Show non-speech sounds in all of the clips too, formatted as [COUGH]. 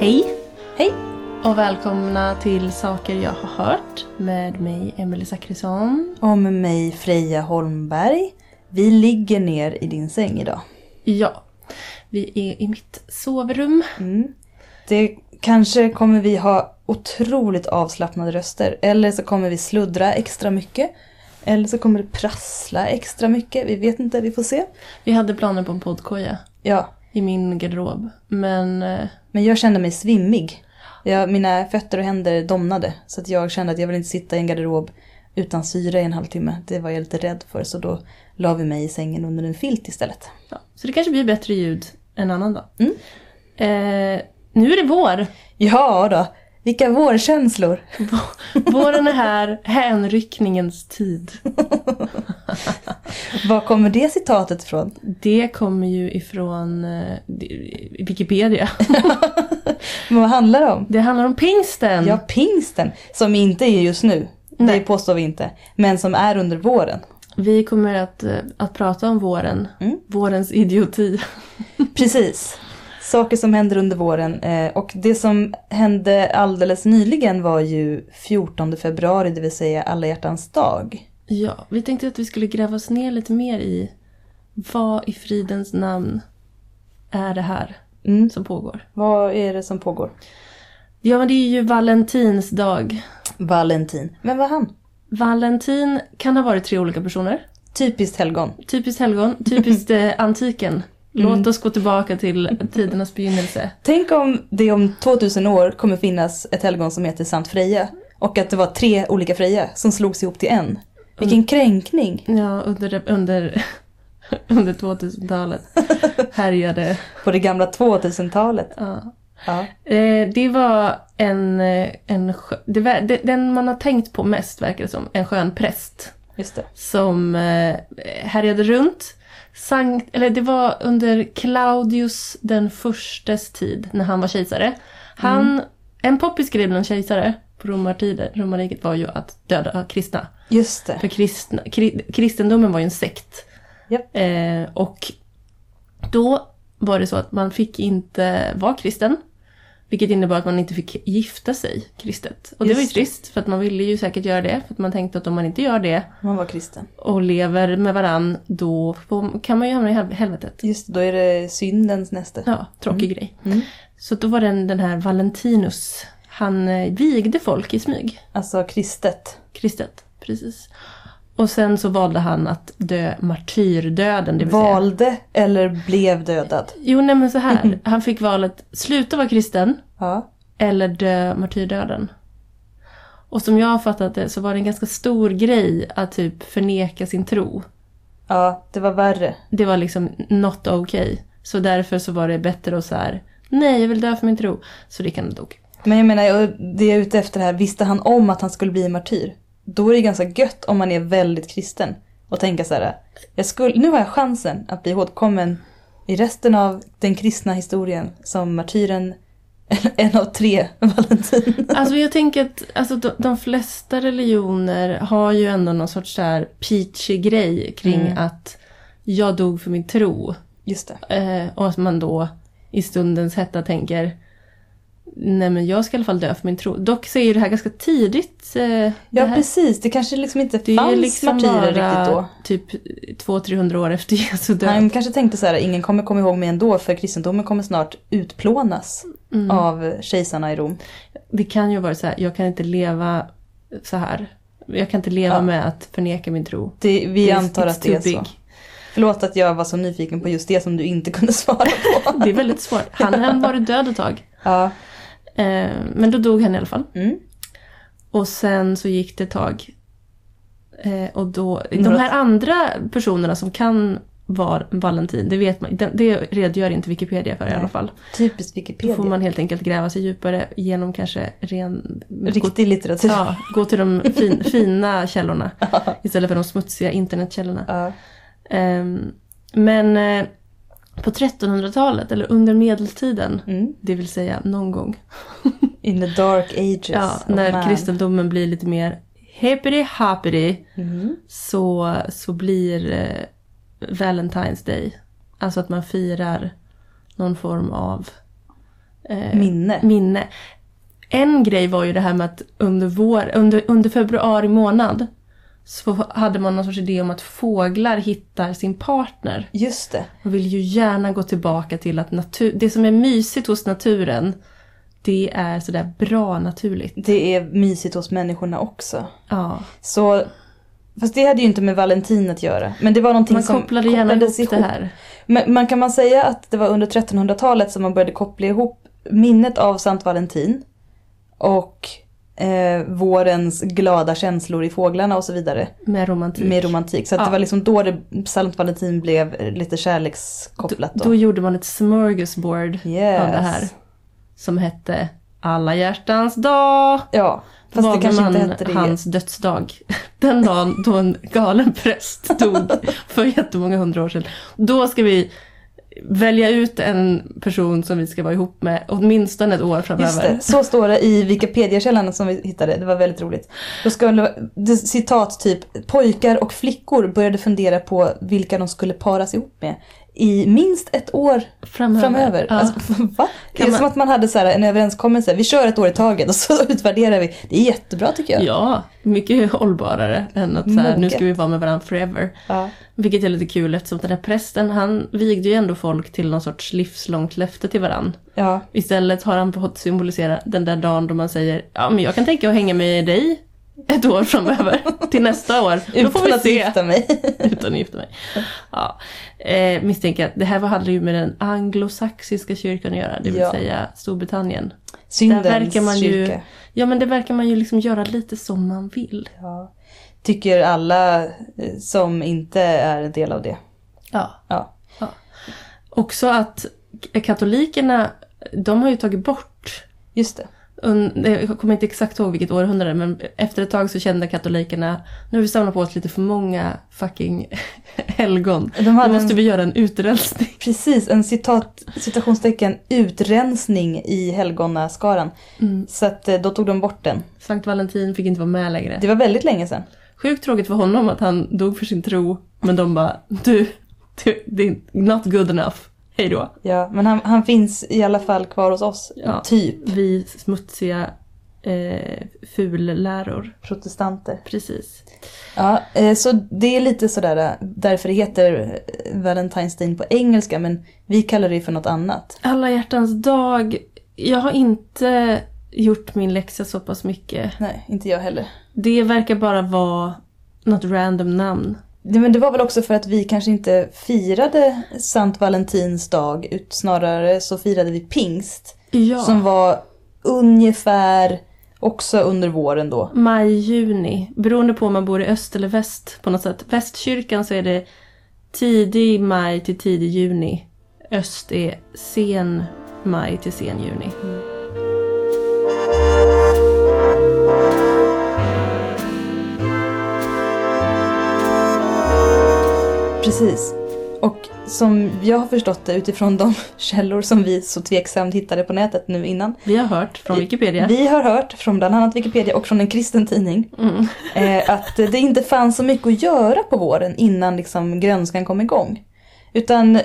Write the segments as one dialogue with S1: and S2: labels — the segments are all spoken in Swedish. S1: Hej
S2: Hej!
S1: och välkomna till Saker jag har hört med mig Emelie Zachrisson.
S2: Och med mig Freja Holmberg. Vi ligger ner i din säng idag.
S1: Ja, vi är i mitt sovrum.
S2: Mm. Det kanske kommer vi ha otroligt avslappnade röster. Eller så kommer vi sluddra extra mycket. Eller så kommer det prassla extra mycket. Vi vet inte, vi får se.
S1: Vi hade planer på en poddkoja
S2: Ja,
S1: i min garderob men eh,
S2: men jag kände mig svimmig. Jag, mina fötter och händer domnade. Så att jag kände att jag vill inte sitta i en garderob utan syre i en halvtimme. Det var jag lite rädd för. Så då la vi mig i sängen under en filt istället.
S1: ja. så det kanske blir bättre ljud en annan dag.
S2: Mm.
S1: Eh, nu är det
S2: [LAUGHS]
S1: vår!
S2: Ja då, vilka vårkänslor!
S1: Våren är här, hänryckningens tid.
S2: Var kommer det citatet ifrån?
S1: Det kommer ju ifrån eh, Wikipedia.
S2: Men Vad handlar det om?
S1: Det handlar om pingsten!
S2: Ja, pingsten, som inte är just nu.
S1: Mm. Nej.
S2: Det påstår vi inte. Men som är under våren.
S1: Vi kommer att, eh, att prata om våren.
S2: Mm.
S1: Vårens
S2: [LAUGHS]
S1: idioti.
S2: Precis. Saker som händer under våren. eh, Och det som hände alldeles nyligen var ju 14 februari, det vill säga alla hjärtans dag.
S1: Ja, vi tänkte att vi skulle gräva oss ner lite mer i vad i fridens namn är det här
S2: Mm.
S1: som pågår?
S2: Vad är det som pågår?
S1: Ja, men det är ju Valentins dag.
S2: Valentin. Vem var han?
S1: Valentin kan ha varit tre olika personer.
S2: Typiskt helgon.
S1: Typiskt helgon,
S2: [LAUGHS]
S1: typiskt eh, antiken. Låt
S2: Mm.
S1: oss gå tillbaka till tidernas begynnelse.
S2: Tänk om det om 2000 år kommer finnas ett helgon som heter Sant Freja. Och att det var tre olika Freja som slogs ihop till en. Vilken
S1: Mm.
S2: kränkning
S1: Ja, under, under, [LAUGHS] under
S2: [LAUGHS]
S1: 2000-talet härjade
S2: på det gamla 2000-talet.
S1: ja,
S2: Ja.
S1: Eh, det var en, eh, en skö- det var, det, den man har tänkt på mest verkar det som, en skön präst
S2: Just det.
S1: som eh, härjade runt. Sankt, eller det var under Claudius den förstes tid, när han var kejsare. Han, En poppis grej bland kejsare på romartider, romarriket var ju att döda kristna.
S2: Just det.
S1: För kristna, kri, kristendomen var ju en sekt.
S2: Japp.
S1: Eh, och då var det så att man fick inte vara kristen. Vilket innebar att man inte fick gifta sig kristet. Och det var ju
S2: Just det.
S1: trist för att man ville ju säkert göra det. För att man tänkte att om man inte gör det
S2: Man var kristen.
S1: och lever med varann då får- kan man ju hamna i hel- helvetet.
S2: Just det, då är det syndens näste.
S1: Ja, tråkig grej.
S2: Mm.
S1: Så då var den, den här Valentinus, han eh, vigde folk i smyg.
S2: Alltså kristet.
S1: Kristet, precis. Och sen så valde han att dö martyrdöden, det vill säga.
S2: Valde eller blev dödad.
S1: Jo, nej men så här. Han fick valet sluta vara kristen
S2: Ja.
S1: eller dö martyrdöden. Och som jag har fattat det så var det en ganska stor grej att typ förneka sin tro.
S2: ja, det var värre.
S1: Det var liksom not okay. Så därför så var det bättre att så här, nej jag vill dö för min tro. Så det kan han dog.
S2: Men jag menar, och det jag är ute efter här, visste han om att han skulle bli martyr? Då är det ganska gött om man är väldigt kristen och tänka så här, jag skulle, nu har jag chansen att bli ihågkommen i resten av den kristna historien som martyren, [LAUGHS] en av tre, [LAUGHS] Valentin.
S1: Alltså jag tänker att alltså, de, de flesta religioner har ju ändå någon sorts så här peachy grej kring
S2: Mm.
S1: att jag dog för min tro.
S2: Just det.
S1: Eh, och att man då i stundens hetta tänker Nej men jag ska i alla fall dö för min tro. Dock så är ju det här ganska tidigt. Eh, det
S2: Ja
S1: här,
S2: precis, det kanske liksom inte
S1: det är
S2: fanns
S1: ju liksom
S2: martyrer
S1: bara
S2: riktigt då.
S1: typ 200-300 år efter [LAUGHS] Jesu död.
S2: Han kanske tänkte så här, ingen kommer komma ihåg mig ändå för kristendomen kommer snart utplånas
S1: Mm.
S2: av kejsarna i Rom.
S1: Det kan ju vara så här, jag kan inte leva så här. Jag kan inte leva
S2: Ja.
S1: med att förneka min tro.
S2: Det, vi
S1: It's-
S2: antar
S1: it's
S2: att det
S1: too
S2: är så. Förlåt att jag var så nyfiken på just det som du inte [LAUGHS] kunde svara på.
S1: Det är väldigt svårt. Han har varit död ett tag.
S2: ja.
S1: Eh, men då dog han i alla fall.
S2: Mm.
S1: Och sen så gick det ett tag. Eh, och då,
S2: Några-
S1: De här andra personerna som kan vara Valentin, det vet man det, det redogör inte Wikipedia för i
S2: Nej.
S1: alla fall.
S2: Typiskt
S1: Då
S2: Wikipedia.
S1: får man helt enkelt gräva sig djupare genom kanske ren... Gå,
S2: Riktig litteratur. Ja.
S1: ja, gå till de fin, [LAUGHS] fina
S2: [LAUGHS]
S1: källorna istället för de smutsiga internetkällorna. Ehm, men eh, på 1300-talet, eller under medeltiden,
S2: Mm.
S1: det vill säga någon gång,
S2: In the dark ages.
S1: ja,
S2: of
S1: när
S2: man.
S1: kristendomen blir lite mer hippity-hoppity,
S2: Mm.
S1: så, så blir eh, Valentine's Day, alltså att man firar någon form av eh,
S2: Minne.
S1: minne. En grej var ju det här med att under, vår, under, under februari månad så hade man någon sorts idé om att fåglar hittar sin partner.
S2: Just det.
S1: Man vill ju gärna gå tillbaka till att natur, det som är mysigt hos naturen det är sådär bra naturligt.
S2: Det är mysigt hos människorna också.
S1: Ja.
S2: Så, fast det hade ju inte med Valentin att göra. Men det var någonting
S1: Man
S2: som
S1: kopplade gärna ihop
S2: kopplades
S1: det här.
S2: Men, men kan man säga att det var under 1300-talet som man började koppla ihop minnet av Sankt Valentin och eh, vårens glada känslor i fåglarna och så vidare
S1: Med romantik.
S2: med romantik. Så att
S1: Typ. Ja.
S2: det var liksom då det, Sankt Valentin blev eh, lite kärlekskopplat då.
S1: då. gjorde man ett smorgasbord
S2: yes.
S1: av det här. som hette Alla hjärtans dag.
S2: Ja, fast det
S1: Valde
S2: kanske inte
S1: man
S2: hette det.
S1: hans dödsdag. [LAUGHS] Den dagen då en galen präst
S2: [LAUGHS]
S1: dog för jättemånga hundra år sedan. Då ska vi välja ut en person som vi ska vara ihop med åtminstone ett år
S2: Just
S1: framöver.
S2: det, så står det i Wikipedia-källan som vi hittade. Det var väldigt roligt. Då ska det, det, citat typ, pojkar och flickor började fundera på vilka de skulle paras ihop med i minst ett år
S1: Framöver.
S2: framöver.
S1: Mm. Ja.
S2: Alltså, va? Det är
S1: Kan man-
S2: som att man hade så här en överenskommelse, vi kör ett år i taget och så [LAUGHS] utvärderar vi. Det är jättebra tycker jag.
S1: ja, mycket hållbarare än att så här, nu
S2: Moget.
S1: ska vi vara med varandra forever.
S2: Ja.
S1: Vilket är lite kul eftersom den här prästen han vigde ju ändå folk till någon sorts livslångt löfte till varandra.
S2: ja.
S1: Istället har han fått symbolisera den där dagen då man säger ja men jag kan tänka att hänga med dig ett år framöver till nästa år. Då får
S2: Utan
S1: vi [LAUGHS]
S2: att
S1: se.
S2: gifta mig.
S1: Utan att gifta mig. Ja. Eh, misstänker att det här handlar ju med den anglosaxiska kyrkan att göra, det vill
S2: Ja.
S1: säga Storbritannien.
S2: Syndens
S1: Där verkar man ju-
S2: kyrka.
S1: Ja men det verkar man ju liksom göra lite som man vill.
S2: Ja. Tycker alla eh, som inte är en del av det.
S1: Ja.
S2: Ja.
S1: Också att k- katolikerna, de har ju tagit bort
S2: Just det.
S1: un- eh, jag kommer inte exakt ihåg vilket århundrade men efter ett tag så kände katolikerna nu har vi samlat på oss lite för många fucking [LAUGHS] helgon.
S2: De
S1: Nu
S2: hade
S1: måste
S2: en,
S1: vi göra en utrensning.
S2: precis en citat, citationstecken utrensning i helgonaskaran. Så att eh, då tog de bort den.
S1: Mm. Sankt Valentin fick inte vara med längre.
S2: Det var väldigt länge sedan.
S1: Sjukt tråkigt för honom att han dog för sin tro men de bara du, du det är not good enough. Hej då.
S2: Ja, men han, han finns i alla fall kvar hos oss.
S1: Ja.
S2: Typ
S1: Vi smutsiga eh, fulläror.
S2: protestanter.
S1: Precis.
S2: Ja, eh, så det är lite sådär, eh, därför det heter eh, Valentine's Day på engelska, men vi kallar det ju för något annat.
S1: Alla hjärtans dag. Jag har inte gjort min läxa så pass mycket.
S2: Nej, inte jag heller.
S1: Det verkar bara vara något random namn.
S2: Det, men det var väl också för att vi kanske inte firade Sankt Valentins dag, ut, snarare så firade vi pingst,
S1: Ja.
S2: som var ungefär också under våren då.
S1: Maj, juni. Beroende på om man bor i öst eller väst på något sätt. Västkyrkan så är det tidig maj till tidig juni. Öst är sen maj till sen juni.
S2: Precis. Och som jag har förstått det utifrån de [LAUGHS] källor som vi så tveksamt hittade på nätet nu innan.
S1: Vi har hört från Wikipedia.
S2: Vi har hört från bland annat Wikipedia och från en kristen tidning
S1: Mm.
S2: eh, att det inte fanns så mycket att göra på våren innan liksom grönskan kom igång. Utan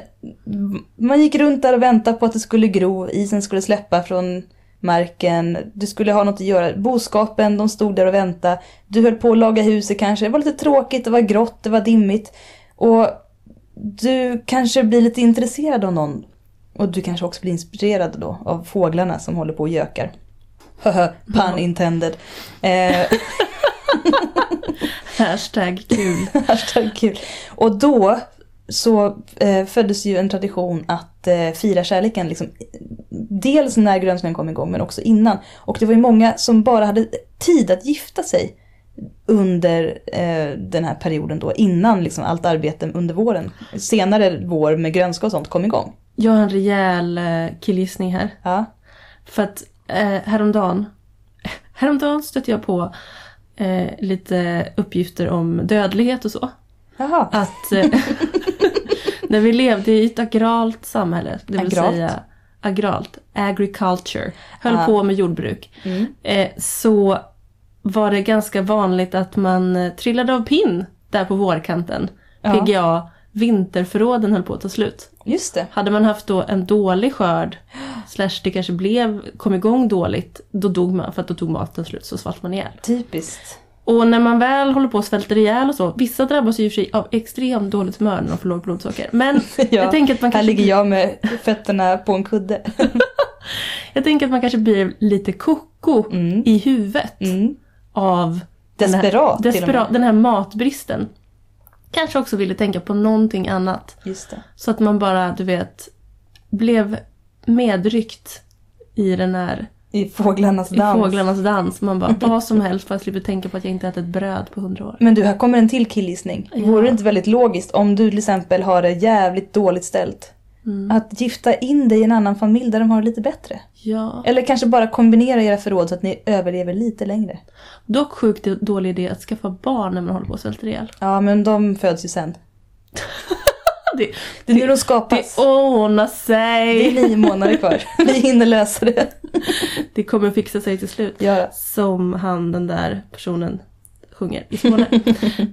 S2: man gick runt där och väntade på att det skulle gro, isen skulle släppa från marken, du skulle ha något att göra. Boskapen, de stod där och väntade. Du höll på att laga huset kanske. Det var lite tråkigt, det var grått, det var dimmigt. Och du kanske blir lite intresserad av någon. Och du kanske också blir inspirerad då av fåglarna som håller på och gökar. Haha, pun intended. Eh, [LAUGHS]
S1: Hashtag kul.
S2: Hashtag kul. Och då så eh, föddes ju en tradition att eh, fira kärleken. Liksom, dels när grönskan kom igång men också innan. Och det var ju många som bara hade tid att gifta sig under eh, den här perioden då innan liksom allt arbete under våren. Senare vår med grönska och sånt kom igång.
S1: Jag har en rejäl eh, killgissning här.
S2: Ja,
S1: För att eh, häromdagen, häromdagen stötte jag på eh, lite uppgifter om dödlighet och så.
S2: Jaha.
S1: Att eh, [LAUGHS] när vi levde i ett agralt samhälle, det vill
S2: Agralt?
S1: säga agralt, agriculture, höll
S2: Ah.
S1: på med jordbruk,
S2: Mm.
S1: eh, så var det ganska vanligt att man eh, trillade av pinn där på vårkanten.
S2: Ja.
S1: PGA, vinterförråden höll på att ta slut.
S2: Just det.
S1: Hade man haft då en dålig skörd Slash det kanske blev, kom igång dåligt. Då dog man för att då tog maten slut så svalt man ihjäl.
S2: Typiskt.
S1: Och när man väl håller på och svälter ihjäl och så. Vissa drabbas ju i och för sig av extremt dåligt humör när de får lågt blodsocker. Men
S2: [LAUGHS] [LAUGHS] Ja,
S1: jag, tänker att man
S2: Här
S1: kanske,
S2: ligger jag med fötterna på en kudde.
S1: jag tänker att man kanske blir lite koko
S2: Mm.
S1: i huvudet
S2: Mm.
S1: av
S2: Desperat
S1: den, här,
S2: till och med.
S1: desperat, den här matbristen. Kanske också ville tänka på någonting annat.
S2: Just det.
S1: Så att man bara, du vet, blev medryckt i den här
S2: I fåglarnas
S1: i
S2: dans.
S1: fåglarnas dans. Man
S2: [LAUGHS]
S1: bara, vad som helst för jag slipper tänka på att jag inte ätit bröd på hundra år.
S2: Men du, här kommer en till killgissning.
S1: Ja.
S2: Vore det inte väldigt logiskt om du till exempel har det jävligt dåligt ställt?
S1: Mm.
S2: Att gifta in dig i en annan familj där de har det lite bättre?
S1: Ja.
S2: Eller kanske bara kombinera era förråd så att ni överlever lite längre?
S1: Dock sjukt dålig idé att skaffa barn när man håller på att svälta ihjäl.
S2: Ja, men de föds ju sen.
S1: Det,
S2: Det är nu de
S1: det
S2: skapas.
S1: ordnar
S2: Det är
S1: sig!
S2: nio
S1: [LAUGHS]
S2: månader kvar. Vi hinner lösa det.
S1: Det kommer fixa sig till slut.
S2: Ja.
S1: Som han den där personen sjunger i
S2: [LAUGHS]
S1: Skåne.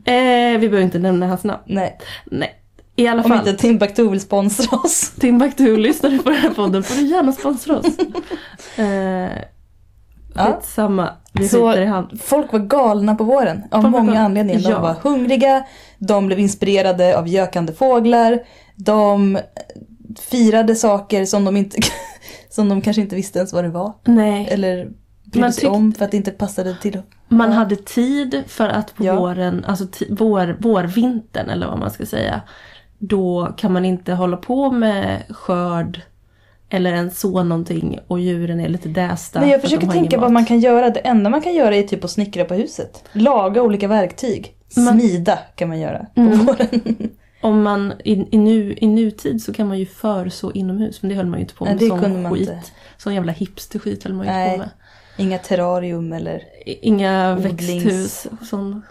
S1: eh, vi behöver inte nämna hans namn.
S2: Nej,
S1: Nej. I alla
S2: om
S1: fall.
S2: inte Timbuktu vill sponsra oss.
S1: Timbuktu, lyssnar du på den här podden får du gärna sponsra
S2: [LAUGHS]
S1: oss. Eh,
S2: Ja.
S1: Skitsamma, vi
S2: Så-
S1: skiter i hand.
S2: Folk var galna på våren av
S1: Folk var
S2: många
S1: galna.
S2: anledningar. De
S1: Ja.
S2: var hungriga, de blev inspirerade av gökande fåglar, de firade saker som de, inte, [LAUGHS] som de kanske inte visste ens vad det var.
S1: Nej,
S2: Eller brydde
S1: Man
S2: sig
S1: tyckte-
S2: om för att det inte passade till.
S1: man hade tid för att på
S2: Ja.
S1: våren, alltså t- vår, vårvintern eller vad man ska säga, då kan man inte hålla på med skörd eller ens så någonting och djuren är lite dästa.
S2: Men
S1: för
S2: jag
S1: att de
S2: försöker
S1: har ingen
S2: tänka vad
S1: mat.
S2: man kan göra. Det enda man kan göra är typ att snickra på huset. Laga olika verktyg.
S1: Man-
S2: Smida kan man göra på
S1: Mm.
S2: våren. [LAUGHS]
S1: Om man i, i, nu, i nutid så kan man ju förså inomhus men det höll man ju inte på
S2: Nej,
S1: med.
S2: det
S1: sån
S2: kunde man
S1: skit.
S2: inte.
S1: Sån jävla hipsterskit höll man ju inte
S2: Nej.
S1: på med.
S2: Inga terrarium eller
S1: Inga
S2: Odlings-
S1: växthus och sån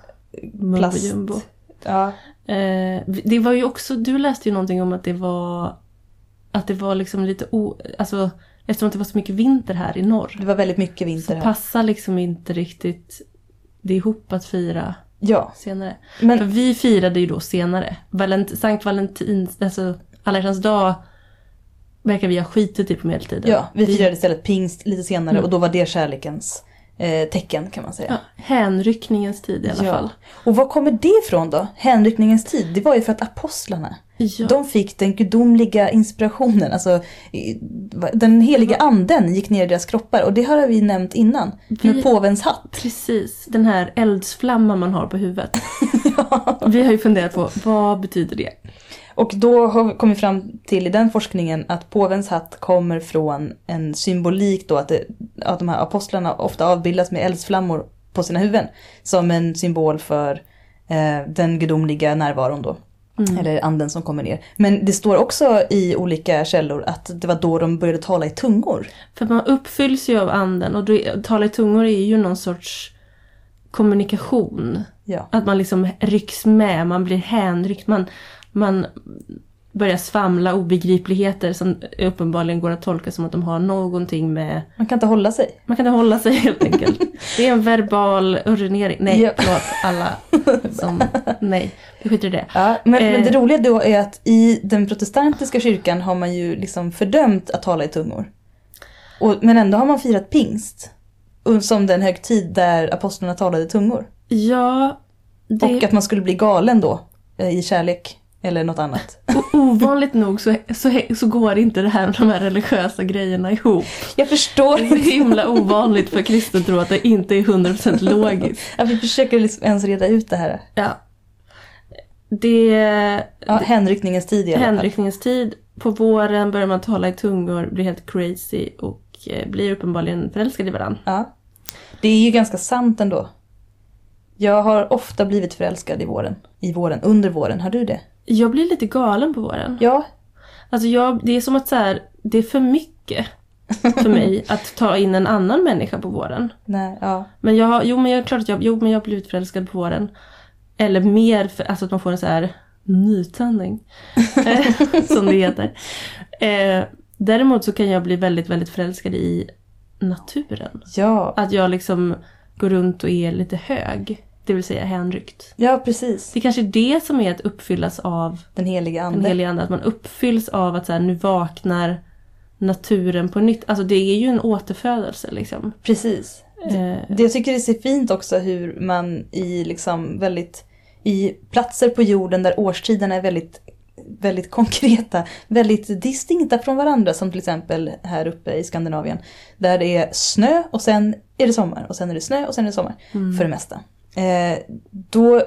S2: plast.
S1: mumbojumbo.
S2: Ja.
S1: Eh, det var ju också, du läste ju någonting om att det var att det var liksom lite o, alltså eftersom att det var så mycket vinter här i norr
S2: Det var väldigt mycket
S1: så
S2: vinter här.
S1: passar liksom inte riktigt det ihop att fira
S2: Ja,
S1: senare.
S2: men
S1: För vi firade ju då senare. Valent, Sankt Valentins, alltså alla hjärtans dag verkar vi ha skitit i på medeltiden.
S2: Ja, Typ. vi firade istället pingst lite senare
S1: Mm.
S2: och då var det kärlekens eh, tecken kan man säga.
S1: Ja, hänryckningens tid i alla
S2: Ja.
S1: fall.
S2: Och var kommer det ifrån då? Hänryckningens tid, det var ju för att apostlarna,
S1: Ja.
S2: de fick den gudomliga inspirationen, alltså i- va- den heliga anden gick ner i deras kroppar och det har vi nämnt innan, med
S1: Vi-
S2: påvens hatt.
S1: Precis, den här eldsflamman man har på
S2: [LAUGHS]
S1: huvudet. Vi har ju funderat på vad betyder det?
S2: Och då har vi kommit fram till i den forskningen att påvens hatt kommer från en symbolik då att, det, att de här apostlarna ofta avbildas med eldsflammor på sina huvuden. Som en symbol för eh, den gudomliga närvaron då. Eller anden som kommer ner. Men det står också i olika källor att det var då de började tala i tungor.
S1: För man uppfylls ju av anden och då, tala i tungor är ju någon sorts kommunikation.
S2: Ja.
S1: Att man liksom rycks med, man blir hänryckt, man, man börjar svamla obegripligheter som uppenbarligen går att tolka som att de har någonting med...
S2: Man kan inte hålla sig.
S1: Man kan inte hålla sig helt enkelt. Det är en verbal urinering. Nej,
S2: Ja.
S1: förlåt alla som... Nej, vi skiter i det.
S2: Ja, men,
S1: Eh.
S2: men det roliga då är att i den protestantiska kyrkan har man ju liksom fördömt att tala i tungor. Och, men ändå har man firat pingst. Och Som den högtid där apostlarna talade i tungor.
S1: Ja, det...
S2: Och att man skulle bli galen då eh, i kärlek eller
S1: [LAUGHS]
S2: något annat.
S1: Och ovanligt nog så, så, så går inte det här med de här religiösa grejerna ihop.
S2: Jag förstår
S1: Det är så [LAUGHS]
S2: inte.
S1: himla ovanligt för kristen tro att det inte är 100% logiskt.
S2: Att vi försöker liksom ens reda ut det här.
S1: Ja. Det är
S2: Ja, hänryckningens tid i alla fall.
S1: hänryckningens tid. På våren börjar man tala i tungor, blir helt crazy och eh, blir uppenbarligen förälskad i varandra.
S2: Ja. Det är ju ganska sant ändå. Jag har ofta blivit förälskad i våren. I våren, under våren. Har du det?
S1: Jag blir lite galen på våren.
S2: Ja.
S1: Alltså jag, det är som att så här, det är för mycket för mig att ta in en annan människa på våren.
S2: Nej, ja.
S1: Men jag har, jo men jag är klart att jag, jo men jag har blivit förälskad på våren. Eller mer, för, alltså att man får en så här
S2: [LAUGHS]
S1: nytändning. eh, som det heter. Eh, däremot så kan jag bli väldigt, väldigt förälskad i naturen.
S2: Ja.
S1: Att jag liksom går runt och är lite hög. Det vill säga hänryckt.
S2: Ja, precis.
S1: Det är kanske är det som är att uppfyllas av
S2: Den heliga
S1: den
S2: anden.
S1: heliga ande. Att man uppfylls av att så här, nu vaknar naturen på nytt. Alltså det är ju en återfödelse liksom.
S2: Precis.
S1: Eh,
S2: Det jag tycker det ser fint också hur man i liksom väldigt i platser på jorden där årstiderna är väldigt, väldigt konkreta, väldigt distinkta från varandra som till exempel här uppe i Skandinavien. Där det är snö och sen är det sommar och sen är det snö och sen är det sommar
S1: mm.
S2: för det mesta. Eh, då,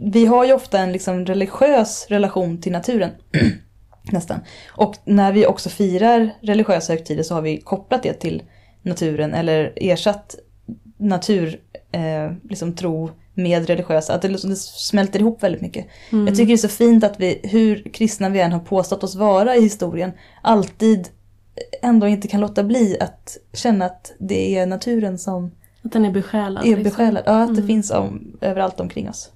S2: vi har ju ofta en liksom religiös relation till naturen. [CLEARS THROAT] Nästan. Och när vi också firar religiösa högtider så har vi kopplat det till naturen eller ersatt natur, eh, liksom tro med religiösa. Att det, liksom- det smälter ihop väldigt mycket.
S1: Mm.
S2: Jag tycker det är så fint att vi, hur kristna vi än har påstått oss vara i historien, alltid ändå inte kan låta bli att känna att det är naturen som
S1: Att den är besjälad.
S2: är besjälad. Ja, att det
S1: Mm.
S2: finns om, överallt omkring oss.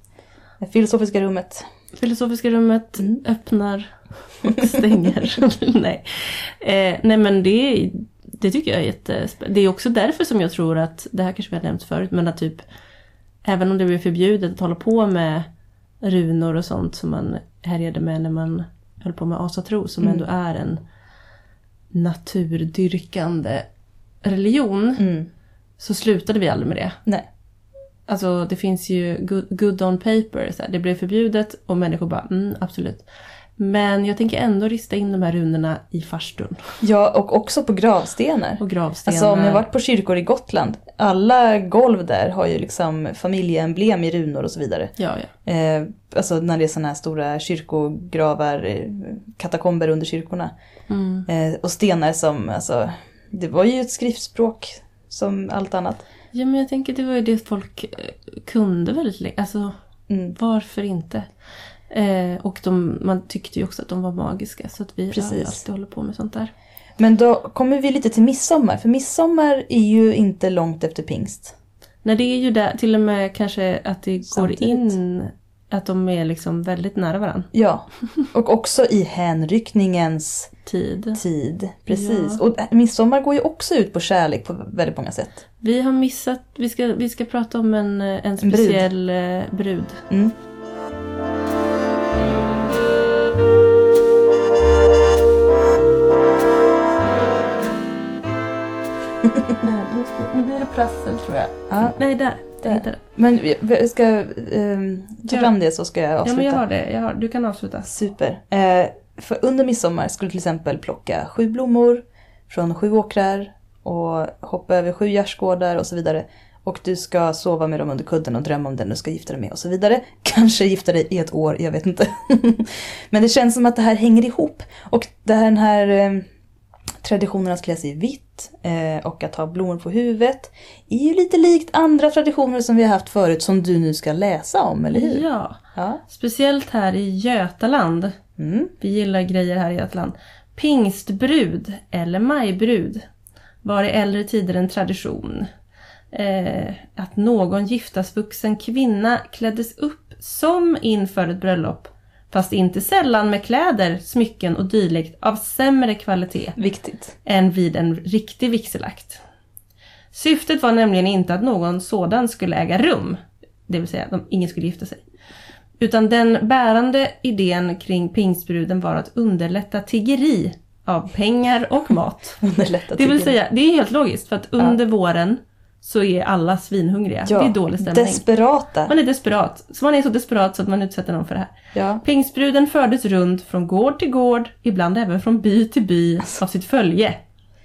S2: Det filosofiska rummet.
S1: Liksom. Filosofiska rummet
S2: Mm.
S1: öppnar och stänger. [LAUGHS] nej. Eh, nej men det, är- det tycker jag är jättespännande. Det är också därför som jag tror att, det här kanske vi har nämnt förut, men att typ även om det blev förbjudet att hålla på med runor och sånt som man härjade med när man höll på med asatro som
S2: Mm.
S1: ändå är en naturdyrkande religion
S2: Mm.
S1: så slutade vi aldrig med det.
S2: Nej.
S1: Alltså det finns ju good, good on paper, så här, det blev förbjudet och människor bara mm, absolut. Men jag tänker ändå rista in de här runorna i farstun
S2: Ja, och också på gravstenar.
S1: och gravstenar.
S2: Alltså om jag varit på kyrkor i Gotland, alla golv där har ju liksom familjeemblem i runor och så vidare.
S1: Ja, ja.
S2: Eh, alltså när det är sådana här stora kyrkogravar, eh, katakomber under kyrkorna.
S1: Mm.
S2: Eh, och stenar som, alltså, det var ju ett skriftspråk som allt annat.
S1: ja, men jag tänker det var ju det folk eh, kunde väldigt länge. Alltså
S2: Mm,
S1: varför inte? Eh, och de, man tyckte ju också att de var magiska så att vi har
S2: Precis.
S1: ju alltid håller på med sånt där.
S2: Men då kommer vi lite till midsommar, för midsommar är ju inte långt efter pingst.
S1: Nej, det är ju där, till och med kanske att det
S2: Samtidigt.
S1: går in, att de är liksom väldigt nära varandra.
S2: Ja, och också i hänryckningens
S1: Tid.
S2: tid. Precis,
S1: Ja.
S2: och eh, midsommar går ju också ut på kärlek på väldigt många sätt.
S1: Vi har missat, vi ska, vi ska prata om en, eh, en
S2: brud.
S1: speciell eh, brud.
S2: Mm.
S1: [LAUGHS] Nu blir det prassel tror jag.
S2: Ja.
S1: Nej, där. Jag
S2: Där.
S1: hittade.
S2: Men vi- vi ska ehm, ta
S1: Ja.
S2: fram det så ska jag
S1: Ja, men
S2: avsluta.
S1: jag har det. Jag har, du kan avsluta.
S2: Super. Eh, för under midsommar skulle till exempel plocka sju blommor från sju åkrar och hoppa över sju gärdsgårdar och så vidare. Och du ska sova med dem under kudden och drömma om den du ska gifta dig med och så vidare. [LAUGHS] Kanske gifta dig i ett år, jag vet inte. [LAUGHS] Men det känns som att det här hänger ihop. Och det här, den här eh, traditionen att klä sig i vitt eh, och att ha blommor på huvudet är ju lite likt andra traditioner som vi har haft förut som du nu ska läsa om, eller hur?
S1: Ja,
S2: Ja.
S1: speciellt här i Götaland.
S2: Mm.
S1: Vi gillar grejer här i Götaland. Pingstbrud eller majbrud var i äldre tider en tradition. Eh, att någon giftasvuxen kvinna kläddes upp som inför ett bröllop. Fast inte sällan med kläder, smycken och dylikt av sämre kvalitet
S2: Viktigt.
S1: än vid en riktig vigselakt. Syftet var nämligen inte att någon sådan skulle äga rum, det vill säga att de, ingen skulle gifta sig. Utan den bärande idén kring pingstbruden var att underlätta tiggeri av pengar och mat.
S2: [LAUGHS] Underlätta
S1: Det vill
S2: tillgången.
S1: säga, det är helt logiskt för att under våren så är alla svinhungriga.
S2: Ja,
S1: det är dålig stämning.
S2: Desperata.
S1: Man är desperat. Så man är så desperat så att man utsätter någon för det här. [LAUGHS]
S2: Ja.
S1: Pingstbruden fördes runt från gård till gård, ibland även från by till by av sitt följe.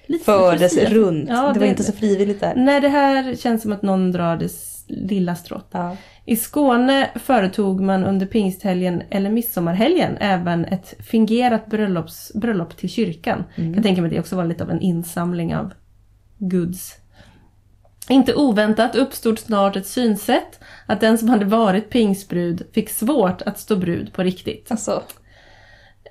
S1: Lite som
S2: Alltså. Fördes
S1: Lucia.
S2: runt.
S1: Ja,
S2: det, var
S1: det-
S2: inte så frivilligt där.
S1: Nej, det här känns som att någon drar det s- lilla strået.
S2: Ja.
S1: I Skåne företog man under pingsthelgen eller midsommarhelgen även ett fingerat bröllops, bröllop till kyrkan.
S2: Mm.
S1: Jag tänker mig att det också var lite av en insamling av goods. Inte oväntat uppstod snart ett synsätt att den som hade varit pingstbrud fick svårt att stå brud på riktigt.
S2: Alltså,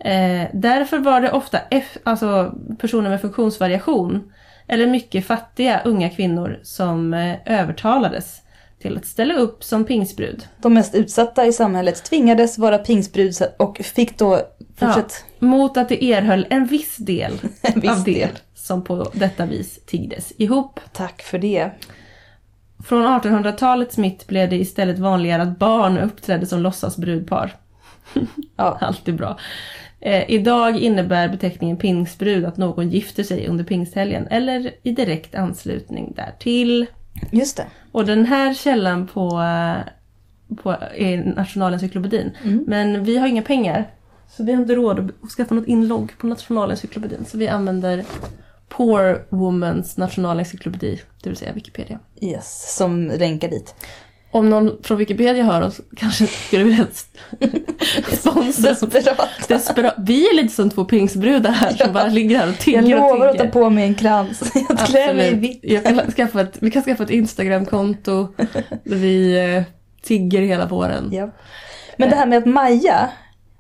S1: Eh, därför var det ofta F, alltså personer med funktionsvariation eller mycket fattiga unga kvinnor som eh, övertalades till att ställa upp som pingsbrud.
S2: de mest utsatta i samhället tvingades vara pingsbrud och fick då... Fortsätt.
S1: Mot att det erhöll en viss del
S2: En [LAUGHS] viss
S1: av det
S2: del.
S1: som på detta vis tiggdes ihop.
S2: Tack för det.
S1: Från 1800-talets mitt blev det istället vanligare att barn uppträdde som låtsas brudpar.
S2: Ja.
S1: [LAUGHS] Alltid bra. Eh, Eh, idag innebär beteckningen pingsbrud att någon gifter sig under pingsthelgen eller i direkt anslutning därtill.
S2: Just det.
S1: Och den här källan på, eh, på är Nationalencyklopedin. Men vi har inga pengar. Så vi har inte råd att skaffa något inlogg på Nationalencyklopedin. Så vi använder Poor Womans Nationalencyklopedi, det vill säga Wikipedia.
S2: Yes, som länkar dit.
S1: Om någon från Wikipedia hör oss kanske skulle vilja [LAUGHS] sponsra oss.
S2: Desperat.
S1: Despera- vi är lite som två pingsbrudar här som
S2: Ja.
S1: bara ligger här och tigger
S2: Jag lovar
S1: och
S2: att ta
S1: tigger.
S2: på mig en krans. [LAUGHS] Jag klär mig i
S1: Absolut.
S2: vitt.
S1: Jag kan skaffa ett, vi kan skaffa ett Instagramkonto där vi eh, tigger hela våren.
S2: Ja. Men det här med att maja,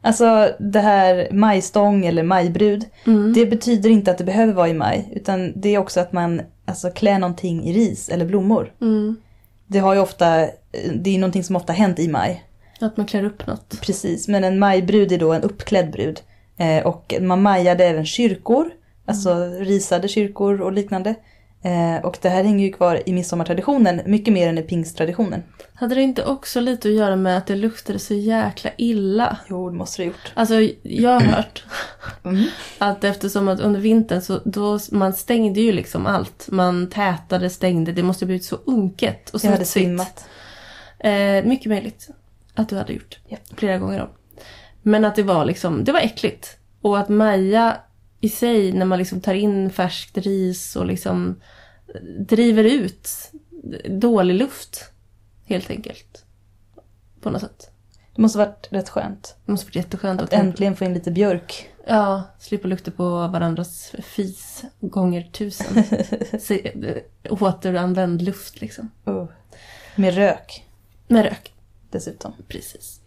S2: alltså det här majstång eller majbrud,
S1: Mm.
S2: det betyder inte att det behöver vara i maj, utan det är också att man alltså, klär någonting i ris eller blommor.
S1: Mm.
S2: Det, har ju ofta, eh, det är någonting som ofta hänt i maj,
S1: Att man klär upp något.
S2: precis. Men en majbrud är då en uppklädd brud. Eh, och man majade även kyrkor, alltså
S1: Mm.
S2: risade kyrkor och liknande. Eh, och det här hänger ju kvar i midsommartraditionen mycket mer än i pingsttraditionen.
S1: Hade det inte också lite att göra med att det luktade så jäkla illa?
S2: Jo, det måste det ha gjort.
S1: Alltså jag har hört
S2: Mm.
S1: att eftersom att under vintern så då, man stängde ju liksom allt. Man tätade, stängde. Det måste ha blivit så unket och
S2: Jag hade
S1: smutsigt.
S2: svimmat.
S1: Eh, mycket möjligt att du hade gjort.
S2: Japp.
S1: Flera gånger om. Men att det var liksom, det var äckligt. Och att Maja i sig, när man liksom tar in färskt ris och liksom driver ut dålig luft. Helt enkelt. På något sätt.
S2: Det måste varit rätt skönt.
S1: Det måste varit jätteskönt att
S2: Äntligen få in lite björk.
S1: ja, slippa lukta på varandras fis gånger tusen. Se, eh, återanvänd luft liksom.
S2: Oh. Med rök
S1: Med rök.
S2: dessutom.
S1: Precis.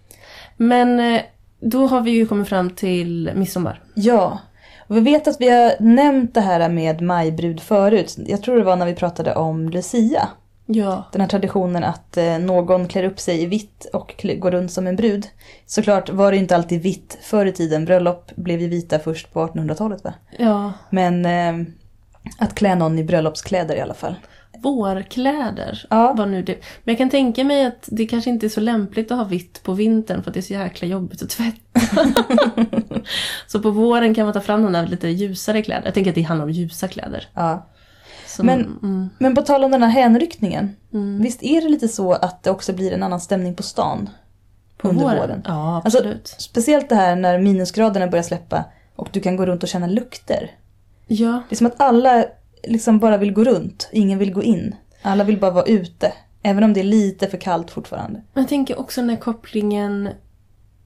S1: Men eh, då har vi ju kommit fram till midsommar.
S2: Ja, och vi vet att vi har nämnt det här med majbrud förut. Jag tror det var när vi pratade om Lucia.
S1: Ja.
S2: Den här traditionen att eh, någon klär upp sig i vitt och kl- går runt som en brud. Såklart var det ju inte alltid vitt förr i tiden. Bröllop blev ju vita först på 1800-talet va?
S1: ja.
S2: Men eh, att klä någon i bröllopskläder i alla fall.
S1: Vårkläder
S2: Ja.
S1: var nu det. Men jag kan tänka mig att det kanske inte är så lämpligt att ha vitt på vintern för att det är så jäkla jobbigt att tvätta. [LAUGHS] så på våren kan man ta fram de där lite ljusare kläder. Jag tänker att det handlar om ljusa kläder.
S2: Ja.
S1: Som,
S2: Men-
S1: mm,
S2: Men på tal om den här hänryckningen.
S1: mm.
S2: Visst är det lite så att det också blir en annan stämning på stan?
S1: På
S2: under
S1: våren?
S2: våren.
S1: Ja,
S2: Alltså-
S1: absolut.
S2: Speciellt det här när minusgraderna börjar släppa och du kan gå runt och känna lukter.
S1: ja.
S2: Det är som att alla liksom bara vill gå runt, ingen vill gå in. Alla vill bara vara ute, även om det är lite för kallt fortfarande.
S1: Men Jag tänker också den här kopplingen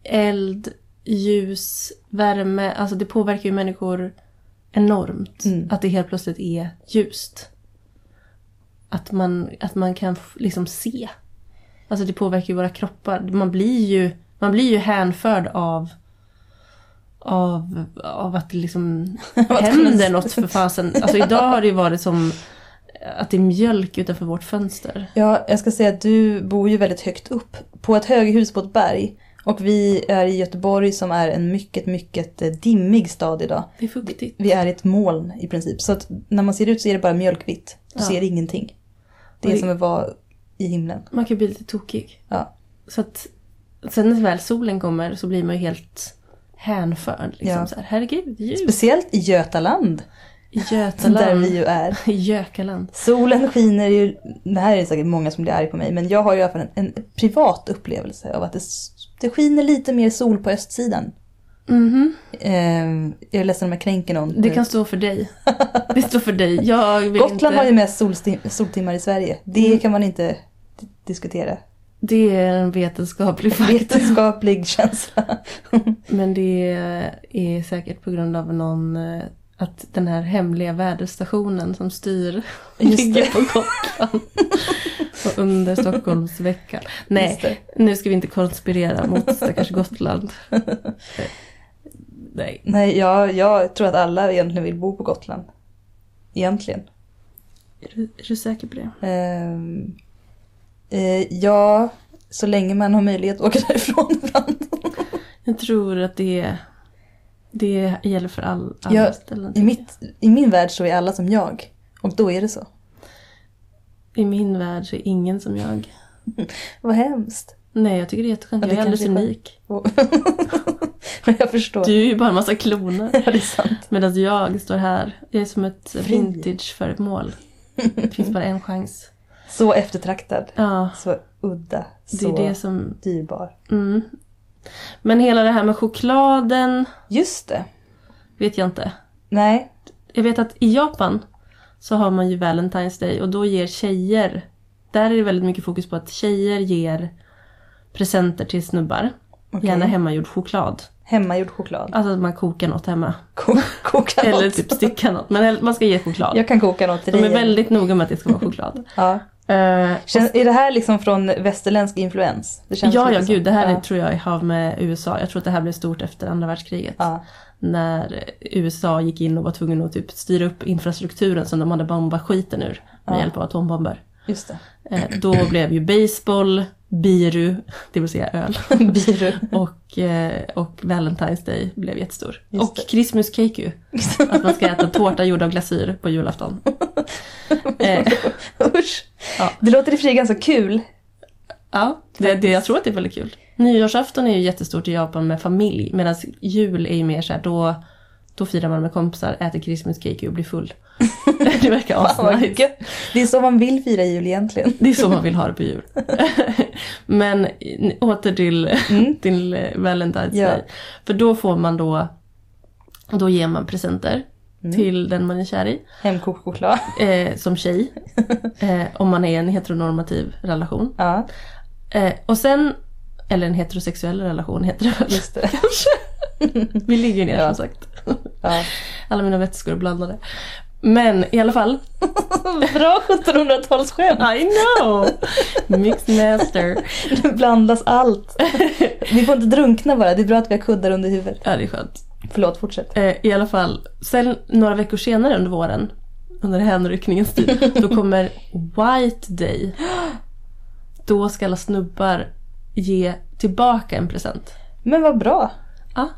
S1: eld, ljus, värme. Alltså det påverkar ju människor enormt.
S2: Mm.
S1: Att det helt plötsligt är ljust. Att man, att man kan f- liksom se. Alltså det påverkar ju våra kroppar. Man blir ju, man blir ju hänförd av av, [LAUGHS] av att det liksom händer något för fasen. Alltså idag har det ju varit som att det är mjölk utanför vårt fönster.
S2: Ja, jag ska säga att du bor ju väldigt högt upp, på ett höghus på ett berg. Och vi är i Göteborg som är en mycket, mycket eh, dimmig stad idag.
S1: Det är fuktigt.
S2: Vi är i ett moln i princip. Så att när man ser ut så är det bara mjölkvitt. Du
S1: Ja.
S2: ser ingenting. Det är
S1: Och det-
S2: som att vara i himlen.
S1: Man kan bli lite tokig.
S2: Ja.
S1: Så att sen när väl solen kommer så blir man ju helt hänförd. Liksom
S2: Ja.
S1: så här, herregud, ljus
S2: Speciellt i Götaland,
S1: i
S2: där
S1: Götaland.
S2: vi ju är.
S1: [LAUGHS] I Gökaland.
S2: Solen skiner ju, det här är säkert många som blir arg på mig, men jag har ju i alla fall en, en privat upplevelse av att det, s- det skiner lite mer sol på östsidan.
S1: Mhm.
S2: Eh, jag är ledsen om jag kränker någon.
S1: Det kan stå för
S2: [LAUGHS]
S1: dig. Det står för dig. Jag vill
S2: Gotland
S1: inte...
S2: har ju mest solstim- soltimmar i Sverige. Det
S1: Mm.
S2: kan man inte di- diskutera.
S1: Det är en vetenskaplig faktor. [LAUGHS]
S2: Vetenskaplig känsla.
S1: Men det är säkert på grund av någon... eh, Att den här hemliga väderstationen som styr
S2: Just
S1: ligger
S2: det.
S1: på Gotland. [LAUGHS] Och under Stockholmsveckan. Nej,
S2: Just det.
S1: Nu ska vi inte konspirera mot [LAUGHS] stackars Gotland. Nej.
S2: Nej, jag, jag tror att alla egentligen vill bo på Gotland. Egentligen.
S1: Är du, är du säker på det?
S2: Ehm, eh, ja, så länge man har möjlighet att åka [LAUGHS] därifrån ibland.
S1: Jag tror att det, det gäller för all, alla
S2: Ja,
S1: ställen. typ.
S2: I, mitt, I min värld så är alla som jag. Och då är det så.
S1: I min värld så är ingen som jag.
S2: Vad hemskt.
S1: Nej, jag tycker det är jätteskönt.
S2: Ja,
S1: Jag
S2: det
S1: är alldeles
S2: kanske är skönt.
S1: unik.
S2: Och [LAUGHS] Men jag förstår.
S1: Du är ju bara en massa kloner.
S2: Ja, det är sant.
S1: Medan jag står här. Jag är som ett
S2: Fri.
S1: vintageföremål. Det finns bara en chans.
S2: Så eftertraktad.
S1: Ja,
S2: Så udda.
S1: det
S2: Så
S1: är det som...
S2: dyrbar.
S1: Mm. Men hela det här med chokladen
S2: Just det.
S1: vet jag inte.
S2: Nej.
S1: Jag vet att i Japan så har man ju Valentine's Day och då ger tjejer... Där är det väldigt mycket fokus på att tjejer ger presenter till snubbar.
S2: okej.
S1: Gärna hemmagjord choklad.
S2: Hemmagjord choklad. [LAUGHS]
S1: Alltså att man kokar något hemma.
S2: Ko- koka
S1: Eller
S2: något.
S1: typ sticka något. Men man ska ge choklad.
S2: Jag kan koka något till
S1: De är
S2: dig.
S1: väldigt noga med att det ska vara choklad.
S2: Ja.
S1: Eh,
S2: Känns, är det här liksom från västerländsk influens? Det känns
S1: ja,
S2: lite
S1: ja,
S2: så.
S1: gud. Det här
S2: ja.
S1: är, tror jag har med USA. Jag tror att det här blev stort efter andra världskriget.
S2: Ja.
S1: När USA gick in och var tvungen att typ styra upp infrastrukturen som de hade bombat skiten ur med
S2: Ja.
S1: hjälp av atombomber.
S2: Just det. [LAUGHS]
S1: Eh, då blev ju baseball, biru, det vill säga
S2: [LAUGHS]
S1: öl,
S2: Biru.
S1: och, eh, och Valentine's Day blev jättestor.
S2: Just
S1: och
S2: det.
S1: Christmas cake ju. Att man ska äta tårta gjord av glasyr på
S2: [LAUGHS]
S1: julafton. Eh,
S2: Usch.
S1: Ja.
S2: Det låter i och för sig ganska kul.
S1: Ja, det, det, jag tror att det är väldigt kul. Nyårsafton är ju jättestort i Japan med familj medan jul är ju mer såhär då, då firar man med kompisar, äter Christmas cake och blir
S2: [LAUGHS]
S1: full. Det verkar
S2: Fan, vad
S1: asnice.
S2: gött. Det är så man vill fira jul egentligen.
S1: Det är så man vill ha det på jul. [LAUGHS] Men eh, åter till,
S2: Mm.
S1: [LAUGHS] till eh, Valentine's
S2: Ja.
S1: Day. För då får man då, då ger man presenter
S2: Mm.
S1: till den man är kär i.
S2: Hemkokt choklad.
S1: Eh, som tjej.
S2: [LAUGHS]
S1: Eh, om man är i en heteronormativ relation.
S2: Ja,
S1: Eh, och sen, eller en heterosexuell relation [LAUGHS] heter det väl?
S2: just det.
S1: Vi ligger ner
S2: Ja.
S1: som sagt.
S2: Ja.
S1: Alla mina vätskor är blandade. Men i alla fall.
S2: Bra 1700-talsskämt.
S1: I
S2: [LAUGHS]
S1: know! Mixed master.
S2: Nu blandas allt. Vi får inte drunkna bara. Det är bra att vi har kuddar under huvudet.
S1: Ja, det är skönt.
S2: Förlåt, fortsätt.
S1: Eh, I alla fall, sen några veckor senare under våren, under hänryckningens
S2: [LAUGHS]
S1: tid, då kommer White Day. Då ska alla snubbar ge tillbaka en present.
S2: Men vad bra.
S1: Ja,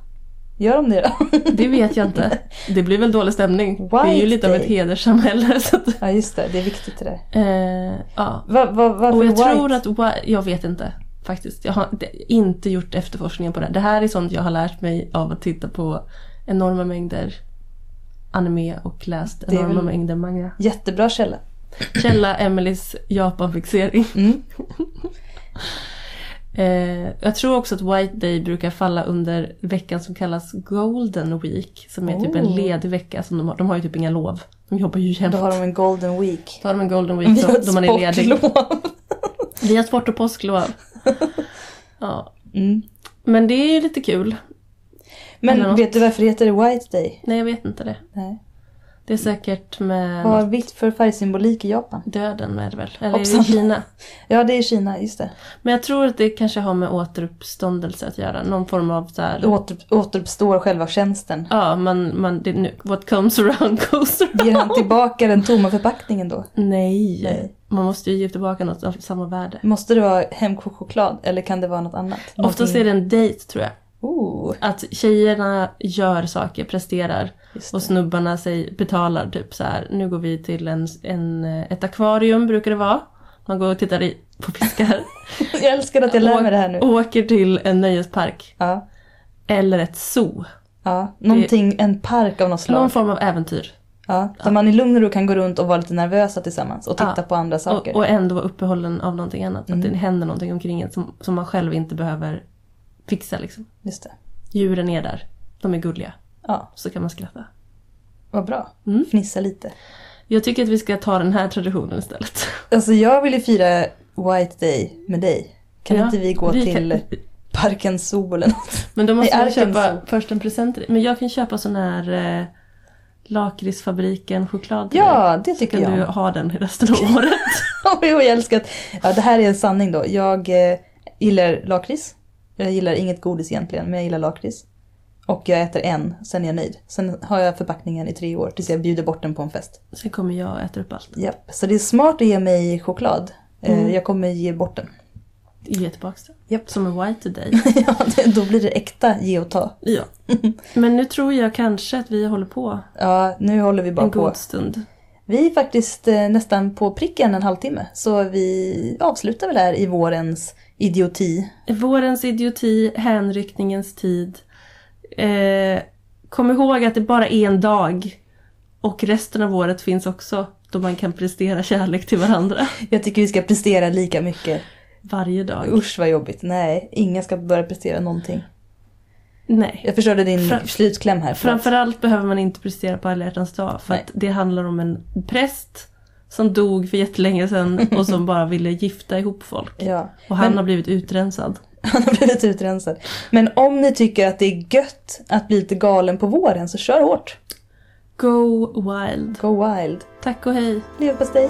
S2: Gör de det då? [LAUGHS]
S1: det vet jag inte. Det blir väl dålig stämning. det är ju
S2: White
S1: lite av ett
S2: Day.
S1: hederssamhälle. Så att,
S2: Ja, just det. Det är viktigt det där.
S1: eh, ja.
S2: Va, va, varför
S1: Och jag
S2: white?
S1: tror att, whi- jag vet inte faktiskt. Jag har de- inte gjort efterforskningen på det. här. Det här är sånt jag har lärt mig av att titta på enorma mängder anime och läst
S2: är
S1: enorma
S2: väl-
S1: mängder manga.
S2: Jättebra källa.
S1: Källa Emelies Japanfixering.
S2: Mm.
S1: [LAUGHS] Eh, jag tror också att White Day brukar falla under veckan som kallas Golden Week. Som är typ en
S2: Oh.
S1: ledig vecka. Som de, har, de har ju typ inga lov. De jobbar ju jämt.
S2: Då har de en golden week.
S1: Då har de en Golden
S2: Vi [LAUGHS]
S1: Week
S2: har
S1: då,
S2: ett
S1: då man är ledig.
S2: sportlov.
S1: Vi har sport och
S2: [LAUGHS]
S1: påsklov. ja.
S2: Mm.
S1: Men det är ju lite kul. Eller
S2: Men
S1: något.
S2: vet du varför heter det White Day?
S1: Nej, jag vet inte det.
S2: Nej.
S1: Det är säkert med
S2: Vad har vitt för färgsymbolik i Japan?
S1: döden är det väl? Eller är det i
S2: Hoppsan.
S1: Kina?
S2: Ja, det är Kina, just det.
S1: Men jag tror att det kanske har med återuppståndelse att göra. Någon form av så här...
S2: Åter, återuppstår själva tjänsten.
S1: Ja, man, man, det, nu, what comes around [LAUGHS] goes around.
S2: Ger han tillbaka den tomma förpackningen då?
S1: Nej.
S2: Nej.
S1: Man måste ju ge tillbaka något av samma värde.
S2: Måste det vara hemkokt choklad eller kan det vara något annat?
S1: Oftast är det en dejt tror jag.
S2: Oh,
S1: Att tjejerna gör saker, presterar.
S2: just
S1: Och
S2: det.
S1: snubbarna säger, betalar typ så här. nu går vi till en, en, ett akvarium brukar det vara. Man går och tittar i, på fiskar.
S2: [LAUGHS] Jag älskar att [LAUGHS] jag lär mig det här nu.
S1: Åker till en nöjespark.
S2: Ja,
S1: Eller ett zoo.
S2: ja. Någonting, en park av något
S1: Någon
S2: slag.
S1: form av äventyr.
S2: Ja, där man i lugn och ro kan gå runt och vara lite nervösa tillsammans och titta
S1: Ja.
S2: på andra
S1: Och,
S2: saker.
S1: och ändå vara uppehållen av någonting annat. Att
S2: Mm.
S1: det händer någonting omkring en som, som man själv inte behöver fixa. Liksom.
S2: Just det.
S1: Djuren är där. De är gulliga.
S2: Ja,
S1: Så kan man skratta.
S2: vad bra.
S1: Mm.
S2: Fnissa lite.
S1: Jag tycker att vi ska ta den här traditionen istället.
S2: Alltså jag vill ju fira White Day med dig.
S1: [LAUGHS]
S2: Kan
S1: Ja,
S2: inte vi gå
S1: vi
S2: till
S1: kan-
S2: Parken Zoo eller något?
S1: Men då måste
S2: Nej,
S1: jag
S2: Arkansas.
S1: köpa först en present till dig. Men jag kan köpa sån här eh, lakritsfabriken-choklad till dig.
S2: Ja, det tycker
S1: Kan
S2: jag.
S1: du ha den i resten av året? [LAUGHS]
S2: [LAUGHS] Jo, jag älskar att... Ja, det här är en sanning då. Jag eh, gillar lakrits. Jag gillar inget godis egentligen, men jag gillar lakrits. Och jag äter en, sen är jag nöjd. Sen har jag förpackningen i tre år tills jag bjuder bort den på en fest.
S1: Sen kommer jag och äter upp allt.
S2: Japp. Så det är smart att ge mig choklad. Eh,
S1: Mm.
S2: Jag kommer ge bort den. [LAUGHS]
S1: Ge tillbaka den.
S2: Japp.
S1: Som en white today.
S2: ja, det, då blir det äkta ge och ta.
S1: Ja. Men nu tror jag kanske att vi håller på
S2: Ja, nu håller vi bara
S1: en
S2: på.
S1: god stund.
S2: Vi är faktiskt eh, nästan på pricken en halvtimme. Så vi avslutar väl här i vårens idioti.
S1: Vårens idioti, hänryckningens tid. eh, kom ihåg att det bara är en dag. Och resten av året finns också då man kan prestera kärlek till varandra.
S2: Jag tycker vi ska prestera lika mycket.
S1: Varje dag.
S2: Usch vad jobbigt. Nej, ingen ska börja prestera någonting.
S1: Nej.
S2: Jag förstörde din
S1: Fra-
S2: slutkläm här. förlåt.
S1: Framförallt behöver man inte prestera på alla hjärtans dag för
S2: Nej.
S1: att det handlar om en präst som dog för jättelänge sedan och som bara ville gifta ihop folk.
S2: Ja. [LAUGHS]
S1: Och han
S2: Men-
S1: har blivit utrensad.
S2: Han har blivit utrensad. Men om ni tycker att det är gött att bli lite galen på våren så kör hårt.
S1: Go wild.
S2: Go wild.
S1: Tack och hej.
S2: Leverpastej.